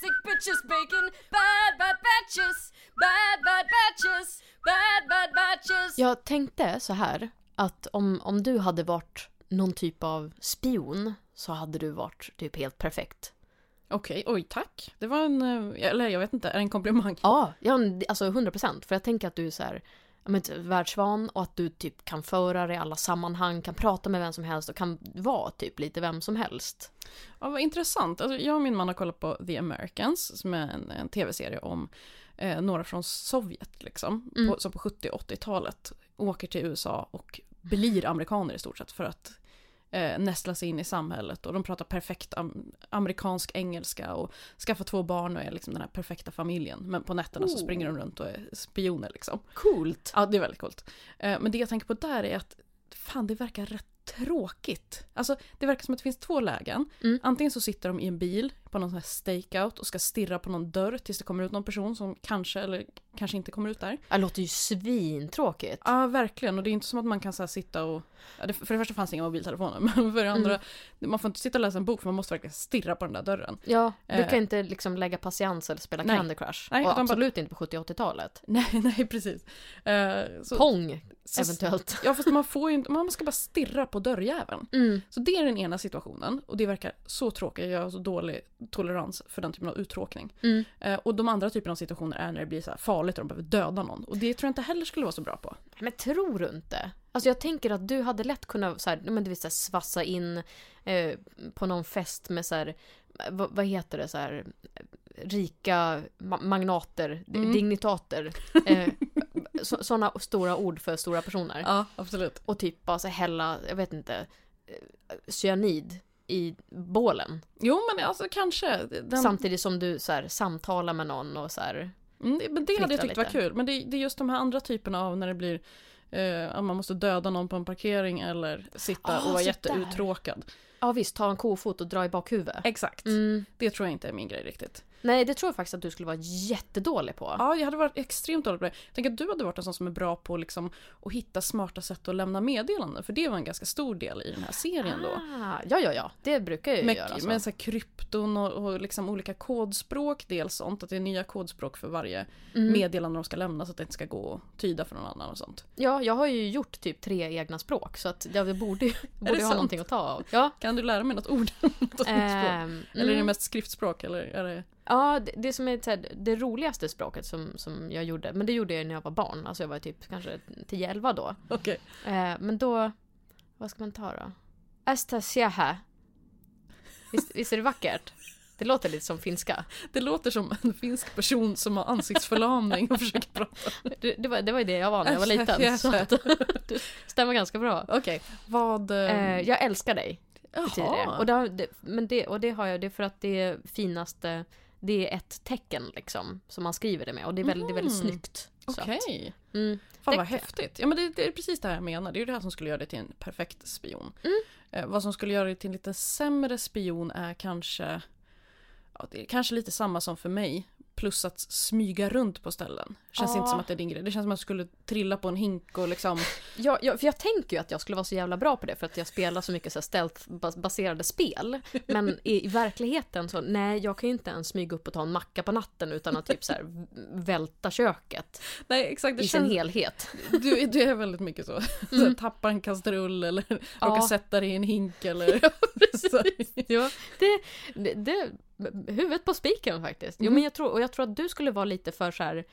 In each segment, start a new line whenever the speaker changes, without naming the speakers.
sandwiches, bacon, bad bad batches, bad bad batches, bad bad batches.
Jag tänkte så här att om, om du hade varit någon typ av spion så hade du varit typ helt perfekt.
Okej, oj tack. Det var en, eh, eller jag vet inte, är det en komplimang?
Ja, ja men det- alltså 100 procent. För jag tänker att du är så här, ja, men, typ världsvan och att du typ kan föra dig i alla sammanhang, kan prata med vem som helst och kan vara typ lite vem som helst.
Ja, vad intressant. Alltså, jag och min man har kollat på The Americans, som är en, en tv-serie om eh, några från Sovjet, liksom,
Mm.
på, som på 70 och 80-talet åker till USA och blir amerikaner i stort sett för att eh, nästla sig in i samhället. Och de pratar perfekt am- amerikansk engelska och skaffar två barn och är liksom den här perfekta familjen. Men på nätterna så
Oh.
springer de runt och är spioner liksom.
Coolt!
Ja, det är väldigt coolt. Eh, Men det jag tänker på där är att fan, det verkar rätt tråkigt. Alltså, det verkar som att det finns två lägen.
Mm.
Antingen så sitter de i en bil på någon sån här stakeout och ska stirra på någon dörr tills det kommer ut någon person som kanske eller kanske inte kommer ut där.
Det låter ju svintråkigt.
Ja, verkligen. Och det är inte som att man kan så här sitta och... Ja, det, för det första fanns det inga mobiltelefoner, men för det andra,
Mm.
man får inte sitta och läsa en bok för man måste verkligen stirra på den där dörren.
Ja, du
Eh.
kan inte liksom lägga patiens eller spela
Nej.
Candy Crush.
Nej,
och
utan bara-
absolut inte på 70 och 80-talet.
Nej, nej, precis. Eh, så,
Pong,
så-
eventuellt.
Ja, fast man får ju inte... Man ska bara stirra på dörrjäveln.
Mm.
Så det är den ena situationen och det verkar så tråkigt, jag har så dålig tolerans för den typen av uttråkning.
Mm.
Eh, och de andra typerna av situationer är när det blir så här farligt och de behöver döda någon. Och det tror jag inte heller skulle vara så bra på.
Men tror du inte? Alltså jag tänker att du hade lätt kunnat så här, ja, men du vet, så här, svassa in eh, på någon fest med så här, eh, vad, vad heter det, så här, eh, rika ma- magnater, d-
Mm.
dignitater. Eh, Sådana stora ord för stora personer.
Ja, absolut.
Och typ bara så här hälla, jag vet inte, eh, cyanid i bålen.
Jo, men alltså kanske. Den,
Samtidigt som du så här, samtalar med någon och så här,
Mm, det- men det hade jag
Fnittra
tyckt var
lite.
kul. Men det, det är just de här andra typerna av när det blir eh, att man måste döda någon på en parkering eller sitta
Ah,
och vara
så där.
jätteuttråkad.
ja visst, ta en kofot och dra i bakhuvudet.
Exakt.
Mm.
Det tror jag inte är min grej riktigt.
Nej, det tror jag faktiskt att du skulle vara jättedålig på.
Ja, jag hade varit extremt dålig på det. Tänk att du hade varit en sån som är bra på liksom, att hitta smarta sätt att lämna meddelanden, för det var en ganska stor del i den här serien då.
Ah, ja, ja, ja. Det brukar jag ju
Med,
göra. Alltså.
med så här krypton och, och liksom olika kodspråk, dels sånt, att det är nya kodspråk för varje
Mm.
meddelande de ska lämna så att det inte ska gå att tyda för någon annan och sånt.
Ja, jag har ju gjort typ tre egna språk så att jag borde, ju- borde ha
sant?
någonting att ta av. Ja.
Kan du lära mig något ord? något språk?
ehm,
Eller är det
mm.
mest skriftspråk? Eller är det...
Ja, det, det som är så här, det roligaste språket som, som jag gjorde, men det gjorde jag när jag var barn, alltså jag var typ kanske 10-11 då.
Okej.
Eh, men då, vad ska man ta då? Estasiaha. Visst, visst är det vackert? Det låter lite som finska.
Det låter som en finsk person som har ansiktsförlamning och försöker prata.
Det, det, var, det var ju det jag var när jag var liten, så att det stämmer ganska bra.
Okej, vad...
Eh, jag älskar dig. betyder det.
jaha.
Och det, har- det, men det, och det har jag, det är för att det är finaste, det är ett tecken liksom som man skriver det med och det är väldigt, det är väldigt
Mm.
snyggt. Så att-
Okej.
Mm.
Fan
Det
vad
kan-
häftigt. Ja men det, det är precis det här jag menar. Det är ju det här som skulle göra dig till en perfekt spion. Eh, vad som skulle göra dig till en lite sämre spion är kanske ja, det är kanske lite samma som för mig. Plus att smyga runt på ställen. Känns
Ja.
inte som att det är din grej. Det känns som att du skulle trilla på en hink och liksom...
Jag, jag, för jag tänker ju att jag skulle vara så jävla bra på det för att jag spelar så mycket så här stealth-baserade spel. Men i, i verkligheten så, nej jag kan ju inte ens smyga upp och ta en macka på natten utan att typ så här v- välta köket
Nej exakt,
i sin helhet.
Du, du är väldigt mycket så. så här, tappar en kastrull eller
Ja.
råkar sätta dig i en hink eller... så, ja.
Det, det, det, huvudet på spiken faktiskt. Jo,
Mm.
men jag tror, och jag tror att du skulle vara lite för så här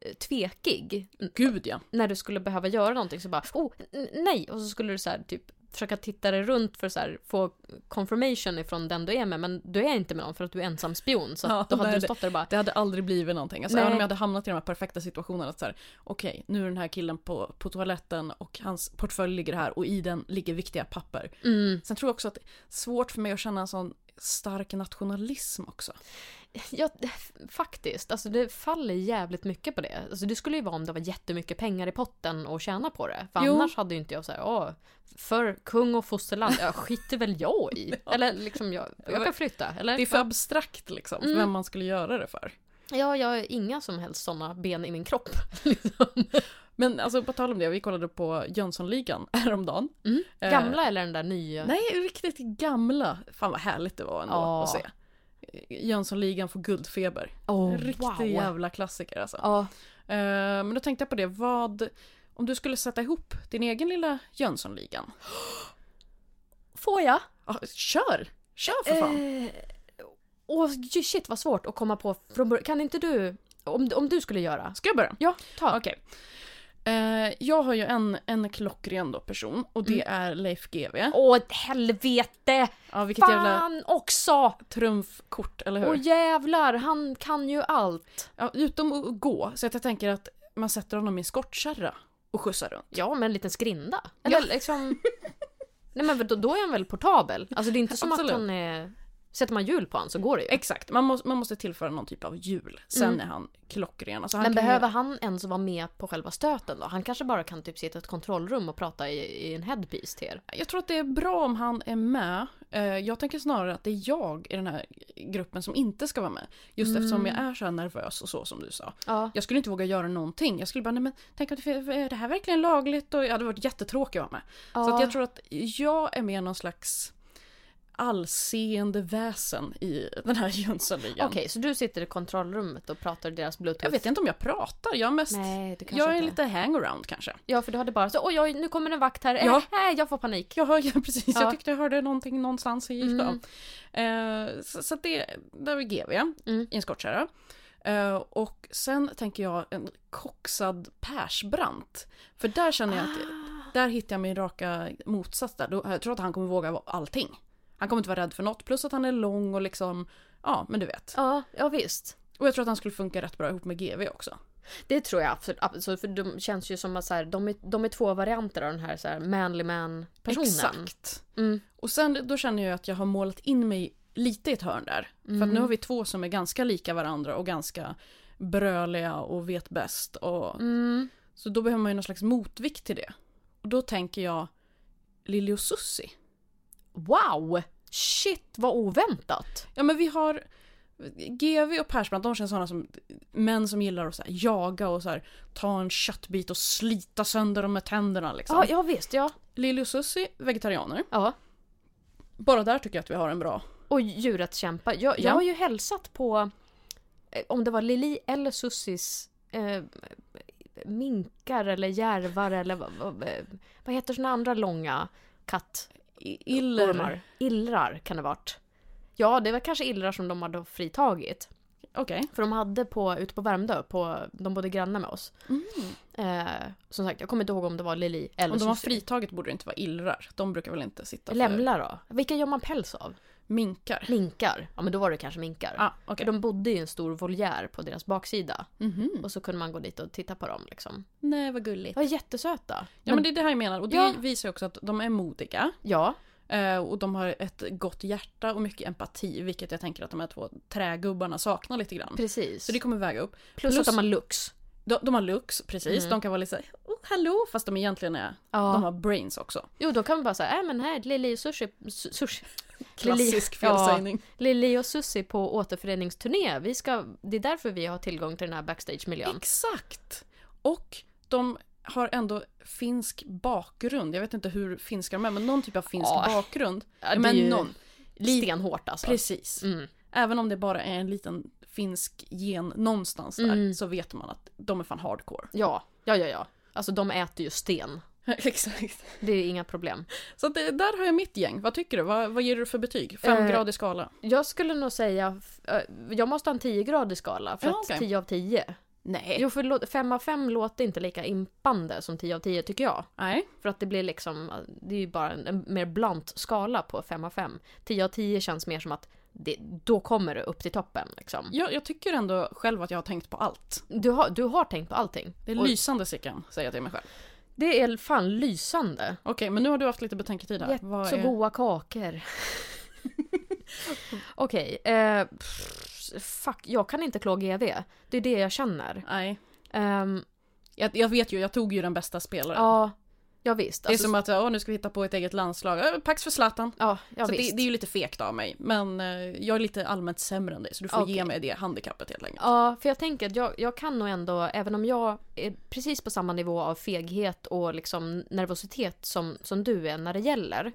eh, tvekig
Gud ja.
när du skulle behöva göra någonting så bara oh, n- nej och så skulle du så här typ försöka titta dig runt för så här, få confirmation ifrån den du är med men du är inte med någon för att du är ensam spion så
Ja,
att då hade
nej,
du stått där och bara
Det hade aldrig blivit någonting. Alltså,
Nej.
även om jag hade hamnat i de här perfekta situationerna. att så här, Okej, nu är den här killen på, på toaletten och hans portfölj ligger här och i den ligger viktiga papper.
mm,
Sen tror jag också att det är svårt för mig att känna en sån stark nationalism också.
ja, faktiskt alltså det faller jävligt mycket på det alltså det skulle ju vara om det var jättemycket pengar i potten och tjäna på det för
Jo.
annars hade ju inte jag så här åh för kung och fosterland ja skiter väl jag i eller liksom jag, jag kan flytta eller
Det är för abstrakt liksom, för
Mm.
vem man skulle göra det för.
ja jag har inga som helst sådana ben i min kropp
Men alltså på tal om det, vi kollade på Jönssonligan häromdagen.
mm.
Eh,
gamla eller den där nya
Nej, riktigt gamla. Fan vad härligt det var ändå
Ja.
att se. Jönssonligan får guldfeber.
Oh,
Riktig
wow.
jävla klassiker alltså.
Ja,
Eh, men då tänkte jag på det, vad... Om du skulle sätta ihop din egen lilla Jönssonligan.
får jag?
Ja, kör! Kör för fan!
Eh, Åh, j- shit vad svårt att komma på från början. Kan inte du, om, om du skulle göra?
Ska jag börja?
Ja, ta.
Okej. Eh, jag har ju en, en klockren då person och det är Leif GW.
Mm. Åh, helvete!
Ja, vilket jävla
Fan också!
trumfkort, eller hur?
Åh jävlar, han kan ju allt.
Ja, utom att gå, så att jag tänker att man sätter honom i en skottkärra och skjutsar runt.
Ja, men en liten skrinda. Eller liksom... Nej men då, då är han väl portabel? Alltså det är inte som
Absolut.
att han är... Sätter man hjul på han så går det ju.
Exakt, man måste, man måste tillföra någon typ av hjul. Sen är han klockren. Alltså, han
Mm. Men
kan ju-
behöver han ens vara med på själva stöten då? Han kanske bara kan typ sitta i ett kontrollrum och prata i, i en headpiece till er.
Jag tror att det är bra om han är med. Eh, Jag tänker snarare att det är jag i den här gruppen som inte ska vara med. Just
Mm.
eftersom jag är så här nervös och så som du sa.
Ja.
Jag skulle inte våga göra någonting. Jag skulle bara, nej men tänk om det, är det här verkligen lagligt? Och jag hade varit jättetråkig att vara med. Så
Ja.
att jag tror att jag är med någon slags allseende väsen i den här Jönssonligan.
Okej, så du sitter i kontrollrummet och pratar i deras bluetooth?
Jag vet inte om jag pratar, jag är mest...
Nej, du kanske
jag är
inte.
lite hangaround kanske.
Ja, för du hade bara så oj, oj, nu kommer en vakt här.
Ja.
Ja. Nej, jag får panik.
Jag hör, ja, precis,
Ja.
jag tyckte jag hörde någonting någonstans i gick då. Eh, så, så att det, där var GV
Mm.
i en skottkärra. Eh, och sen tänker jag en koxad persbrant. För där känner jag
Ah.
att, där hittar jag min raka motsats där. Då, jag tror att han kommer våga vara allting. Han kommer inte vara rädd för något, plus att han är lång och liksom, ja men du vet.
Ja, ja visst.
Och jag tror att han skulle funka rätt bra ihop med GV också.
Det tror jag absolut. absolut för de känns ju som att så här, de, är, de är två varianter av den här, så här manly man-personen.
Exakt.
Mm.
Och sen då känner jag att jag har målat in mig lite i ett hörn där. För
Mm.
att nu har vi två som är ganska lika varandra och ganska bröliga och vet bäst. Och,
Mm.
Så då behöver man ju någon slags motvikt till det. Och då tänker jag Lili och Susie.
Wow! Shit, vad oväntat.
Ja men vi har GV och Persbrandt, de känns sådana som män som gillar att så här, jaga och så här, ta en köttbit och slita sönder dem med tänderna liksom.
Ja, ja visst, ja.
Lili och Susie, vegetarianer.
ja.
Bara där tycker jag att vi har en bra
Och djurrättskämpar. Jag,
Ja.
jag har ju hälsat på, eh, om det var Lili eller Sussis eh, minkar eller järvar eller vad, vad, eh, vad heter såna andra långa kattormar?
i- iller.
Illrar kan det ha varit. Ja, det var kanske illrar som de hade fritagit.
Okej.
För de hade på, ute på Värmdö, på, de bodde grannar med oss. Eh, som sagt, jag kommer inte ihåg Mm. om det var Lili eller
Om de har
Susie.
fritaget borde det inte vara illrar. De brukar väl inte sitta för
Lämlar då? Vilka gör man päls av?
minkar?
Minkar? Ja men då var det kanske minkar.
Ah, okej.
För de bodde i en stor voljär på deras baksida.
Mhm.
Och så kunde man gå dit och titta på dem liksom.
Nej, vad gulligt.
De Mm. var jättesöta.
Ja, men det är det här jag menar. Och det
Ja.
visar ju också att de är modiga.
Ja.
eh, Och de har ett gott hjärta och mycket empati, vilket jag tänker att de här två trägubbarna saknar lite grann.
precis.
Så det kommer väga upp.
plus,
plus-
att de har lux.
De, de har lux, precis. De kan vara lite såhär, oh, hallå, fast de egentligen är,
Mhm. Ja.
de har brains också.
Jo då kan man bara säga, äh, men här Lili och Sushi... Su- sushi.
Klassisk
Lili-
felsägning.
Ja, Lili och Sushi på återföreningsturné. Vi ska, det är därför vi har tillgång till den här backstage-miljön.
Exakt! Och de har ändå finsk bakgrund. Jag vet inte hur finska de är, men någon typ av finsk
Ja.
bakgrund.
Ja, det är
men
ju-
någon. Li-
Stenhårt alltså.
Precis.
Mm.
Även om det bara är en liten finsk gen någonstans där
Mm.
så vet man att de är fan hardcore.
Ja, ja, ja, ja. Alltså de äter ju sten.
Exakt.
Det är inga problem.
Så att det, där har jag mitt gäng. Vad tycker du? Vad, vad ger du för betyg?
Eh.
Femgradig skala?
Jag skulle nog säga, f- eh, jag måste ha en 10-gradig skala för
Ja,
att
okej.
10 av 10.
Nej.
Jo, för lå- 5 av 5 låter inte lika impande som 10 av 10 tycker jag.
Nej.
För att det blir liksom, eh, det är ju bara en, en mer blunt skala på 5 av 5. 10 av 10 känns mer som att det, då kommer det upp till toppen liksom.
Jag, jag tycker ändå själv att jag har tänkt på allt.
Du har, du har tänkt på allting.
Det är
Och
lysande Sickan, säger jag till mig själv.
det är fan lysande.
Okej, men nu har du haft lite betänketid här. Vad
Så
är-
goa kakor. Okej, eh, pff, fuck, jag kan inte klå GV. Det är det jag känner.
Nej.
Ehm,
Jag, jag vet ju, jag tog ju den bästa spelaren.
ja, ja visst.
Det är
Alltså,
som att åh, nu ska vi hitta på ett eget landslag. Äh, Pax för Zlatan.
ja, ja,
så det,
visst.
det är ju lite fegt av mig. Men eh, jag är lite allmänt sämre än dig så du får
Okej.
ge mig det handikappet helt enkelt.
Ja, för jag tänker att jag, jag kan nog ändå, även om jag är precis på samma nivå av feghet och liksom nervositet som, som du är när det gäller,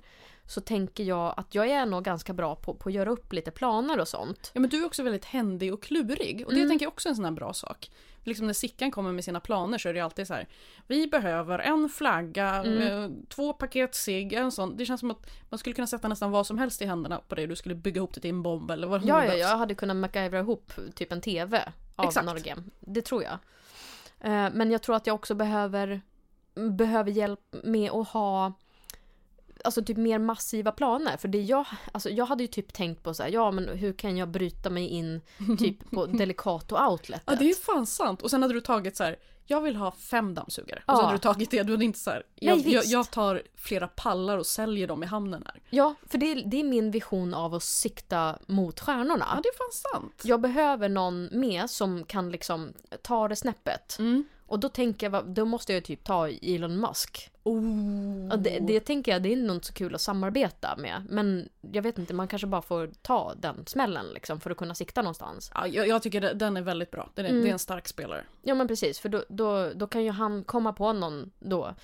så tänker jag att jag är nog ganska bra på, på att göra upp lite planer och sånt.
Ja men du är också väldigt händig och klurig och det
Mm.
tänker jag också är en sån här bra sak. Liksom när Sickan kommer med sina planer så är det ju alltid så här. Vi behöver en flagga,
Mm.
eh, två paket cigg, en sån. Det känns som att man skulle kunna sätta nästan vad som helst i händerna på dig. Du skulle bygga ihop det till en bomb eller vad det nu
Ja, ja,
behövs.
jag hade kunnat MacGyvera ihop typ en TV av
Exakt.
några game. Det tror jag. Eh, Men jag tror att jag också behöver, behöver hjälp med att ha Alltså typ mer massiva planer. För det jag, alltså jag hade ju typ tänkt på så här, ja men hur kan jag bryta mig in typ på Delicato outletet?
Ja det är ju fan sant. Och sen hade du tagit så här. Jag vill ha fem dammsugare. Och
Ja.
sen hade du tagit det. Du hade inte så här. Jag,
Nej,
jag,
visst.
jag tar flera pallar och säljer dem i hamnen här.
Ja, för det är, det är min vision av att sikta mot stjärnorna.
Ja det är fan sant.
Jag behöver någon med som kan liksom ta det snäppet.
Mm.
Och då tänker jag, vad- då måste jag typ ta Elon Musk.
Oh.
Och det, det tänker jag, det är nog inte så kul att samarbeta med. Men jag vet inte, man kanske bara får ta den smällen liksom för att kunna sikta någonstans.
Ja, jag, jag tycker det, den är väldigt bra. Den är, Det är en stark spelare.
Ja men precis, för då, då, då kan ju han komma på någon då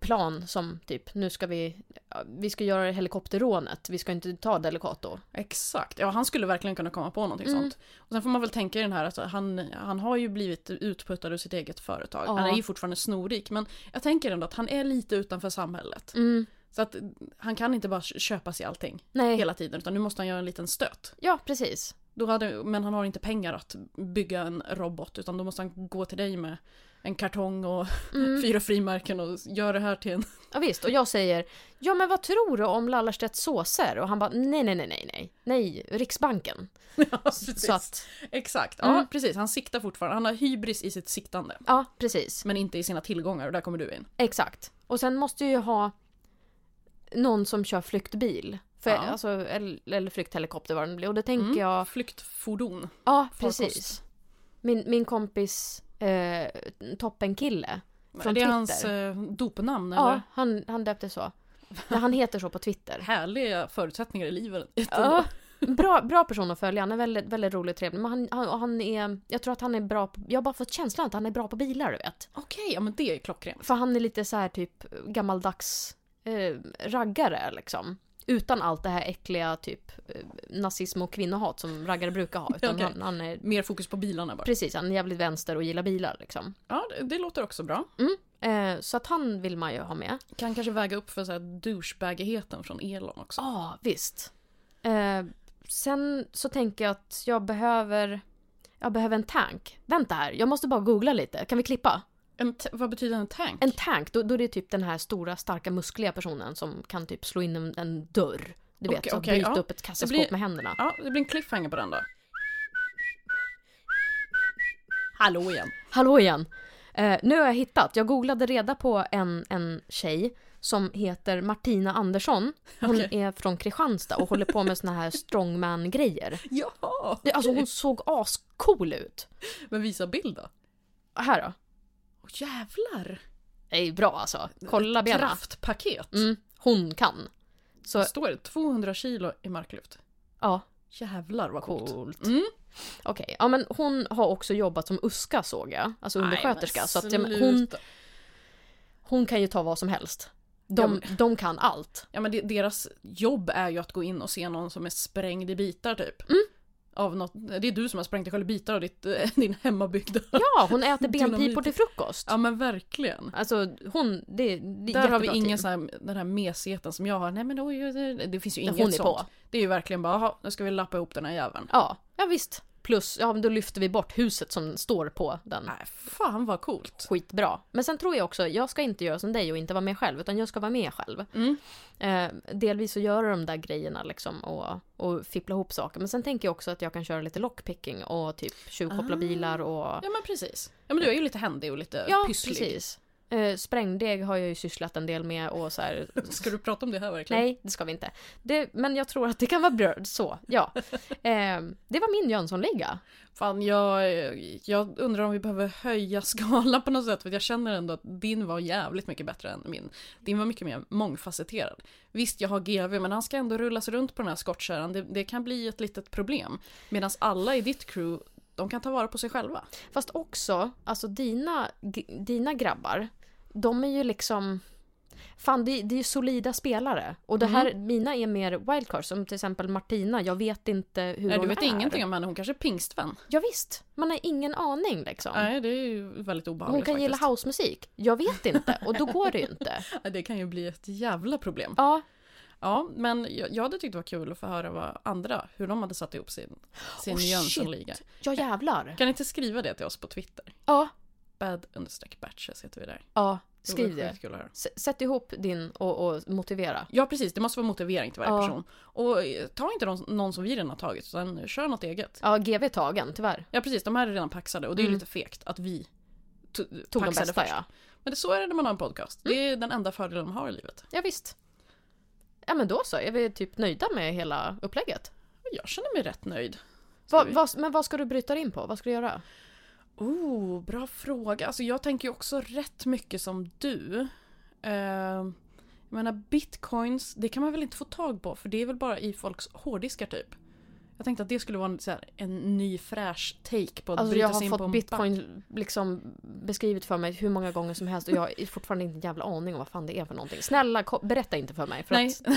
plan som typ, nu ska vi, ja, vi ska göra helikopterrånet, vi ska inte ta Delicato.
Exakt, ja han skulle verkligen kunna komma på någonting sånt. Och sen får man väl tänka i den här att han, han har ju blivit utputtad ur sitt eget företag.
Ja.
Han är ju fortfarande snorrik men jag tänker ändå att han är lite utanför samhället.
Mm,
Så att han kan inte bara köpa sig allting
nej,
hela tiden utan nu måste han göra en liten stöt.
ja precis.
Då hade, men han har inte pengar att bygga en robot utan då måste han gå till dig med en kartong och
Mm.
fyra frimärken och göra det här till en...
Ja, visst, och jag säger ja men vad tror du om Lallerstedts såser? Och han bara nej nej nej nej nej, nej Riksbanken.
Ja, precis.
Så att,
Exakt, ja
Mm.
precis. Han siktar fortfarande. Han har hybris i sitt siktande.
ja precis.
Men inte i sina tillgångar och där kommer du in.
Exakt. Och sen måste jag ju ha någon som kör flyktbil. För,
Ja.
alltså, eller, eller flykthelikopter vad det nu blir. Och det tänker
Mm.
jag,
Flyktfordon.
ja
farkost.
precis. Min, min kompis eh, toppenkille.
är
Från
det
Twitter.
hans eh, dopnamn
Ja,
eller?
han, han döpte så. Men han heter så på Twitter.
Härliga förutsättningar i livet.
Ja, bra, bra person att följa, han är väldigt, väldigt rolig och trevlig. Men han, han, och han är, jag tror att han är bra på, jag har bara fått känslan att han är bra på bilar du vet.
Okej, ja men det är klockrent.
För han är lite så här typ gammaldags eh, raggare liksom. Utan allt det här äckliga typ eh, nazism och kvinnohat som raggare brukar ha. Utan
Okej.
han, han är,
Mer fokus på bilarna bara.
precis, han är jävligt vänster och gillar bilar liksom.
Ja, det, det låter också bra.
Eh, så att han vill man ju ha med.
Kan kanske väga upp för så här douchebagigheten från Elon också.
Ja, visst. Eh, sen så tänker jag att jag behöver... Jag behöver en tank. Vänta här, jag måste bara googla lite. Kan vi klippa?
En t- vad betyder en tank?
En tank, då, då är det typ den här stora, starka, muskliga personen som kan typ slå in en, en dörr. Du vet,
Okej,
så
okej,
bryta
ja.
upp ett kassaskåp
Det blir-
med händerna.
Ja, det blir en cliffhanger på den då. Hallå igen.
Hallå igen! Eh, nu har jag hittat, jag googlade reda på en, en tjej som heter Martina Andersson. Hon
Okej.
är från Kristianstad och håller på med såna här strongman-grejer.
Ja!
Det- Alltså hon såg ascool ut.
Men visa bild då.
Här då.
Åh jävlar!
Det är bra alltså. Kolla benen.
Kraftpaket.
Mm, hon kan. Så
Vad står det? 200 kilo i marklyft.
ja,
Jävlar vad coolt.
coolt.
Mm.
Okej, ja men hon har också jobbat som USKA såg jag. Alltså undersköterska.
Nej, men
så att, ja, men hon,
sluta.
hon kan ju ta vad som helst.
Ja,
De, de kan allt.
Ja men det, deras jobb är ju att gå in och se någon som är sprängd i bitar typ. Av något, det är du som har sprängt dig själv i bitar av ditt, eh, din hemmabyggda.
Ja, hon äter
Dynamit.
benpipor till frukost.
Ja men verkligen.
Alltså hon, det, det är
Där har vi
jättebra
ingen
team.
sån här, den här mesigheten som jag har. Nej men oj, oj, oj. det finns ju
Hon
inget
är
sånt.
på. Mm.
Det är ju verkligen bara, jaha, nu ska vi lappa ihop den här jäveln.
Ja, ja visst. Plus, ja men då lyfter vi bort huset som står på den.
Nej, fan vad coolt.
skitbra. Men sen tror jag också, jag ska inte göra som dig och inte vara med själv, utan jag ska vara med själv.
Mm.
Eh, delvis så göra de där grejerna liksom och, och fippla ihop saker. Men sen tänker jag också att jag kan köra lite lockpicking och typ tjuvkoppla
Ah.
bilar och...
Ja men precis. Ja men du är ju lite händig och lite
Ja,
pysslig.
precis. Eh, sprängdeg har jag ju sysslat en del med och så här...
Ska du prata om det här verkligen?
Nej, det ska vi inte. Det, men jag tror att det kan vara bra så, ja. Eh, det var min Jönssonliga.
Fan, jag, jag undrar om vi behöver höja skalan på något sätt. För jag känner ändå att din var jävligt mycket bättre än min. Din var mycket mer mångfacetterad. Visst, jag har GV men han ska ändå rullas runt på den här skottkärran. Det, det kan bli ett litet problem. Medan alla i ditt crew, de kan ta vara på sig själva.
Fast också, alltså dina, g- dina grabbar, de är ju liksom... fan det, det är ju solida spelare. Och
Mm.
det här, mina är mer wildcards, som till exempel Martina, jag vet inte hur
Nej, du
hon
vet
är.
ingenting om henne, hon kanske är pingstvän.
Ja, visst, man har ingen aning liksom.
Nej, det är ju väldigt obehagligt
Hon kan
faktiskt.
gilla housemusik. Jag vet inte och då går det ju inte.
Ja, Det kan ju bli ett jävla problem.
Ja,
Ja, men jag, jag hade tyckt det var kul att få höra vad andra, hur de hade satt ihop sin, sin
Oh, shit.
Jönssonliga.
ja jävlar.
Kan ni inte skriva det till oss på Twitter?
Ja,
Bad understreck batches heter vi där.
ja,
Det vore
skriv det.
skitkul att höra.
S- Sätt ihop din och, och motivera.
Ja precis, det måste vara motivering till varje
Ja.
person. Och eh, ta inte någon, någon som vi redan har tagit, utan kör något eget.
Ja, GV är tagen tyvärr.
Ja precis, de här är redan paxade och det är ju
Mm.
lite fegt att vi to-
Tog de
paxade
bästa
först.
ja. Mm.
Men det, så är det när man har en podcast. Det är den enda fördelen man har i livet.
Ja visst. Ja men då så, är vi typ nöjda med hela upplägget.
Jag känner mig rätt nöjd. Ska
Va,
vi-
vad- men vad ska du bryta dig in på? Vad ska du göra?
Oh, bra fråga. Alltså jag tänker ju också rätt mycket som du. Eh, jag menar bitcoins, det kan man väl inte få tag på för det är väl bara i folks hårddiskar typ. Jag tänkte att det skulle vara en, så här, en ny fräsch take på att
Alltså
bryta
jag
sig
har
in på
fått
en bank.
bitcoin liksom beskrivet för mig hur många gånger som helst och jag har fortfarande inte en jävla aning om vad fan det är för någonting. Snälla ko- berätta inte för mig. För
Nej,
att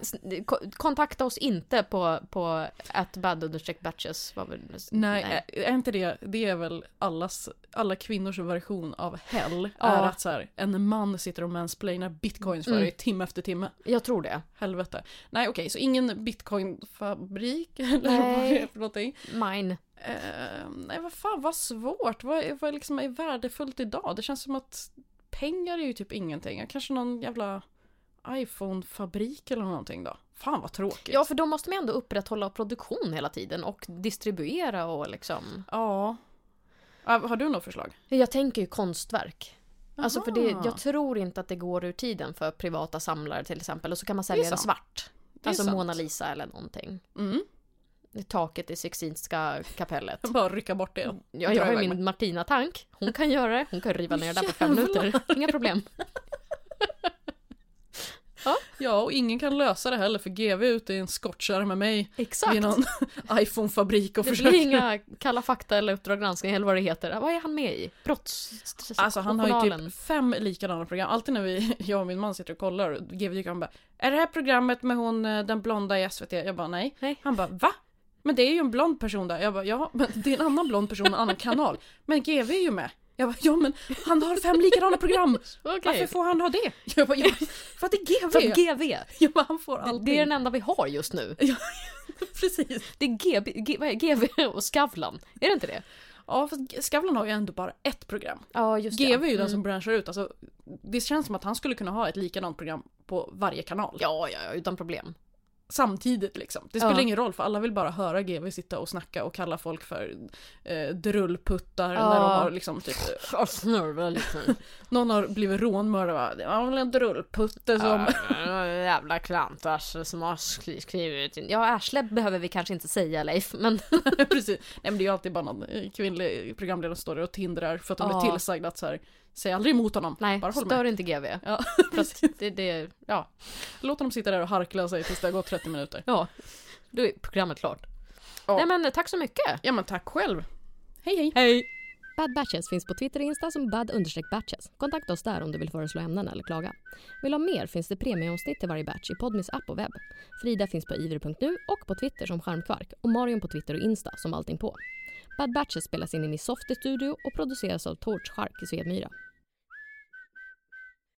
S- ko- kontakta oss inte på, på at bad understreck batches. Vad var det?
nej, är inte det, det är väl allas, alla kvinnors version av hell.
Ja.
Är att så här, en man sitter och mansplainar bitcoins för
Mm.
dig timme efter timme.
Jag tror det.
Helvete. Nej okej, så ingen bitcoinfabrik eller vad
Nej.
det är för någonting.
Mine.
Eh, nej, vad fan vad svårt. Vad, är- vad liksom är värdefullt idag? Det känns som att pengar är ju typ ingenting. Kanske någon jävla iPhone-fabrik eller någonting då. Fan vad tråkigt.
Ja, för då måste man ändå upprätthålla produktion hela tiden och distribuera och liksom.
Ja. Ah, Har du något förslag?
Jag tänker ju konstverk. Alltså för det,
Aha.
jag tror inte att det går ur tiden för privata samlare till exempel. Och så kan man sälja den
sant.
svart.
Det är
Alltså
sant.
Mona Lisa eller någonting.
Mm.
I Taket i Sixtinska kapellet.
Bara rycka bort det.
Jag, jag har ju
iväg
min Martina-tank. Hon kan göra det. Hon kan riva ner det där på fem
Jävlar.
minuter. Inga problem.
Ja, och ingen kan lösa det heller för GV är ute i en skottkärra med mig
Exakt.
vid någon iPhone-fabrik och
Det
försöker...
blir inga Kalla fakta eller Uppdrag granskning eller vad det heter. Vad är han med i? Brotts...
Alltså han har ju
journalen.
typ fem likadana program. Alltid när vi, jag och min man sitter och kollar, och GW dyker han bara Är det här programmet med hon eh, den blonda i SVT? Jag bara nej.
Nej.
Han bara va? Men det är ju en blond person där. Jag bara ja, men det är en annan blond person, en annan kanal. Men GW är ju med. Jag bara ja men han har fem likadana program. Varför
Okej.
får han ha det? Jag bara, ja, för att det är GW.
För GV.
Jag bara, han får
Det,
allting.
det är den enda vi har just nu.
Precis.
Det är GB, G, vad är det? GV och Skavlan. Är det inte det?
Ja fast Skavlan har ju ändå bara ett program.
Ja, Mm. just
GW är ju den som branschar ut. Alltså, det känns som att han skulle kunna ha ett likadant program på varje kanal.
Ja, ja, ja, utan problem.
samtidigt liksom. Det spelar
Ja.
ingen roll för alla vill bara höra GV sitta och snacka och kalla folk för eh, drullputtar
Ja.
när de har liksom typ, eh,
Jag snurrar lite.
någon har blivit rånmördad va? Det var väl en drullputte som...
Jävla klantar som har skri- skrivit in. Ja, Arsle behöver vi kanske inte säga Leif, men
Precis. Nej men det är ju alltid bara någon eh, kvinnlig programledare som står där och tindrar för att de
Ja.
blir tillsagda att så här, säg aldrig emot honom.
nej,
bara håll
stör
med.
inte GV.
Ja,
För att det, det, ja,
Låt dem sitta där och harkla sig tills det har gått 30 minuter.
ja, då är programmet klart.
Ja.
Nej men tack så mycket.
Ja men tack själv. Hej hej.
Hej!
Bad Batches finns på Twitter och Insta som bad-batches. Kontakta oss där om du vill föreslå ämnen eller klaga. Vill du ha mer finns det premieomsnitt i varje batch i Podmis app och webb. Frida finns på ivr.nu och på Twitter som Charmkvark och Marion på Twitter och Insta som allting på. Bad Batches spelas in i Miss Softy Studio och produceras av Torch Shark i Svedmyra.